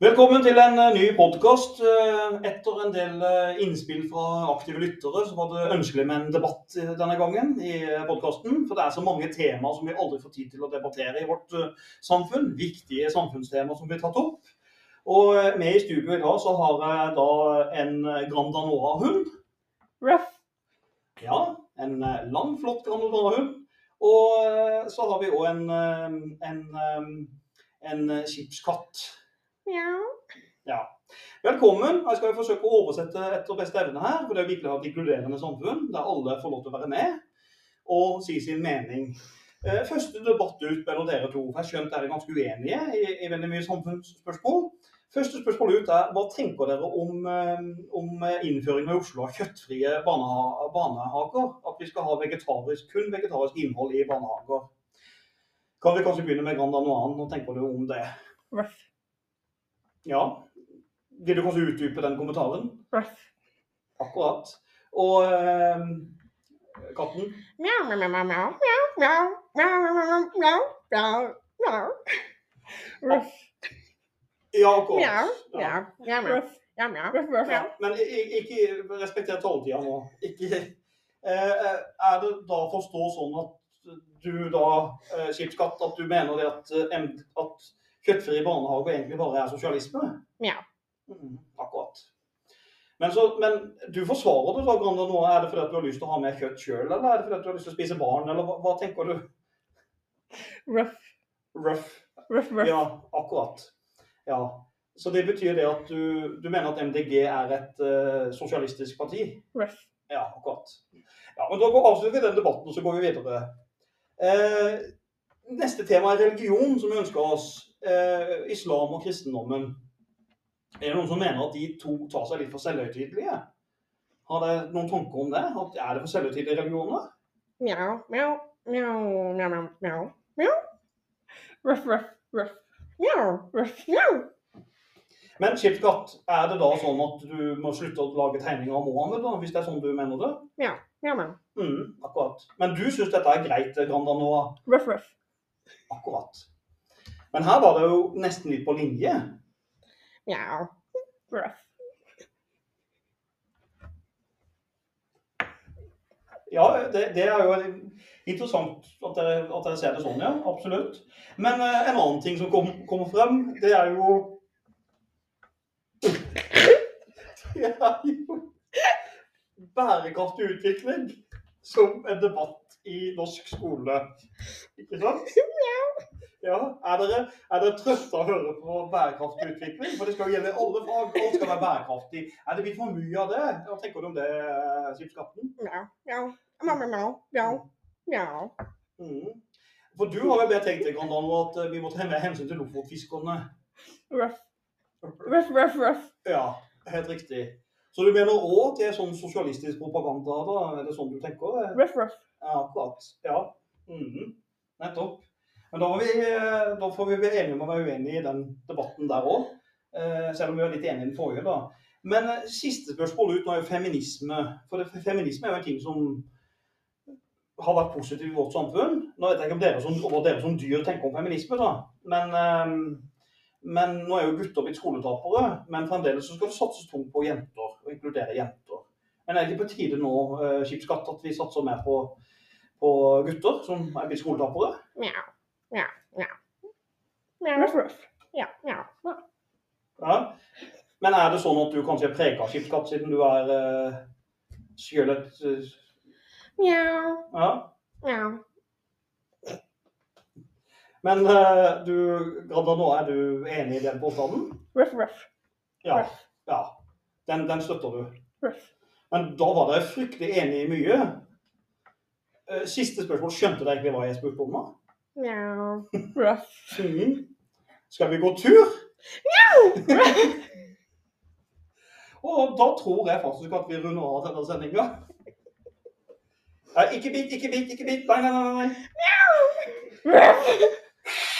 Velkommen til en eh, ny podkast. Etter en del eh, innspill fra aktive lyttere, så var det ønskelig med en debatt eh, denne gangen i podkasten. For det er så mange temaer som vi aldri får tid til å debattere i vårt eh, samfunn. Viktige samfunnstemaer som blir tatt opp. Og eh, med i studio i dag så har jeg da en eh, Grand Danora-hund. Ruff. Ja, en eh, lang, flott Grand Danora-hund. Og eh, så har vi òg en, eh, en, eh, en eh, skipskatt. Mjau. Ja. Velkommen. Jeg skal jo forsøke å oversette etter beste evne her. For det er virkelig et inkluderende samfunn der alle får lov til å være med og si sin mening. Eh, Første debatt ut mellom dere to. for Jeg skjønt dere er ganske uenige i, i veldig mye samfunnsspørsmål. Første spørsmål ut er hva tenker dere om, eh, om innføringen i Oslo av kjøttfrie barneha barnehager? At vi skal ha vegetarisk, kun vegetarisk innhold i barnehager. Kan vi kanskje begynne med Grand Anuan? Hva tenker du om det? Ruff. Ja. Vil du kanskje utdype den kommentaren? Ruff. Akkurat. Og eh, katten? Mjau, mjau, mjau, mjau, mjau, mjau, mjau, mjau, mjau, mjau. Ruff. Ja, akkurat. Mjau, mjau, mjau, mjau, Ruff, mjau, mjau. ruff, ruff. Ja, Men i- i- ikke respekter taletida nå. Ikke, eh, eh, er det da å forstå sånn at du da, eh, skipskatt, at du mener det at, eh, em- at kjøttfri barnehage egentlig bare er sosialisme? Mjau. Mm, akkurat. Men, så, men du forsvarer det da, Granda, nå. Er det fordi at du har lyst til å ha mer kjøtt sjøl, eller er det fordi at du har lyst til å spise barn, eller hva, hva tenker du? Ruff, Rough. ruff, ruff. Ja, akkurat. Ja. Så det betyr det at du, du mener at MDG er et eh, sosialistisk parti? ruff. Ja, akkurat. Ja, men Da går- avslutter vi den debatten, og så går vi videre. Eh, neste tema er religion, som vi ønsker oss. Eh, islam og kristendommen. Er det noen som mener at de to tar seg litt for selvhøytidelige? Har dere noen tanker om det? At er det for selvhøytidelige religioner? Mjau, mjau, mjau, mjau, mjau, mjau. Ruff, ruff, ruff. Mjau, ruff, mjau. Men Chipkatt, er det da sånn at du må slutte å lage tegninger av Mohammed, da, hvis det er sånn du mener det? Mjau, mjau. Mm, akkurat. Men du syns dette er greit, Granda Noa? Ruff, ruff. Akkurat. Men her var det jo nesten litt på linje. Mjau. Ruff. Ja, det, det er jo interessant at dere, at dere ser det sånn, ja. Absolutt. Men eh, en annen ting som kom- kommer frem, det er jo Det er jo bærekraftig utvikling som en debatt i norsk skole. Ikke sant? Ja, Er dere, er dere trøtte av å høre på bærekraftig utvikling? For det skal jo gjelde alle fag. Alt skal være bærekraftig. Er det blitt for mye av det? Hva tenker du om det, Skipskatten? Mjau, mjau, mjau, mjau, mjau, mjau. Mm. For du har vel mer tenkt deg, Grand Dano, at eh, vi må ta mer hensyn til lofotfiskerne? Ruff, ruff, ruff, ruff. Ja, helt riktig. Så du mener òg det er sånn sosialistisk propaganda? da? Er det sånn du tenker? eh? Ruff, ruff. Ja, akkurat. Ja. Mhm. Nettopp. Men da, må vi, eh, da får vi være enige om å være uenige i den debatten der òg. Selv om vi var litt enige i den forrige, da. Men eh, siste spørsmål ut nå er jo feminisme. For det, feminisme er jo en ting som har vært positiv i vårt samfunn. Nå vet jeg ikke om dere som, om hva dere som dyr tenker om feminisme, da. Men, eh, men nå er jo gutter blitt skoletapere. Men fremdeles så skal det satses tungt på jenter, og inkludere jenter. Men er det ikke på tide nå, eh, Skipsskatt, at vi satser mer på, på gutter som er blitt skoletapere? Mjau, mjau, mjau. Mjau, Ruff, ruff. mjau, mjau. Ja. Men er det sånn at du kanskje er prega av Skipsskatt, siden du er eh, sjøl et eh, Mjau, Ja. mjau. Men eh, du, Granda, nå er du enig i den påstanden? Ruff, ruff. Ja. Ruff. ja. Den, den støtter du. Ruff. Men da var dere fryktelig enige i mye. Eh, Siste spørsmål. Skjønte dere egentlig hva jeg spurte om? da? Mjau. Ruff. Mm. Skal vi gå tur? Og da tror jeg faktisk at vi runder av denne sendinga. Ikke bit, ikke bit, ikke bit. Nei, nei, nei. nei. Ruff.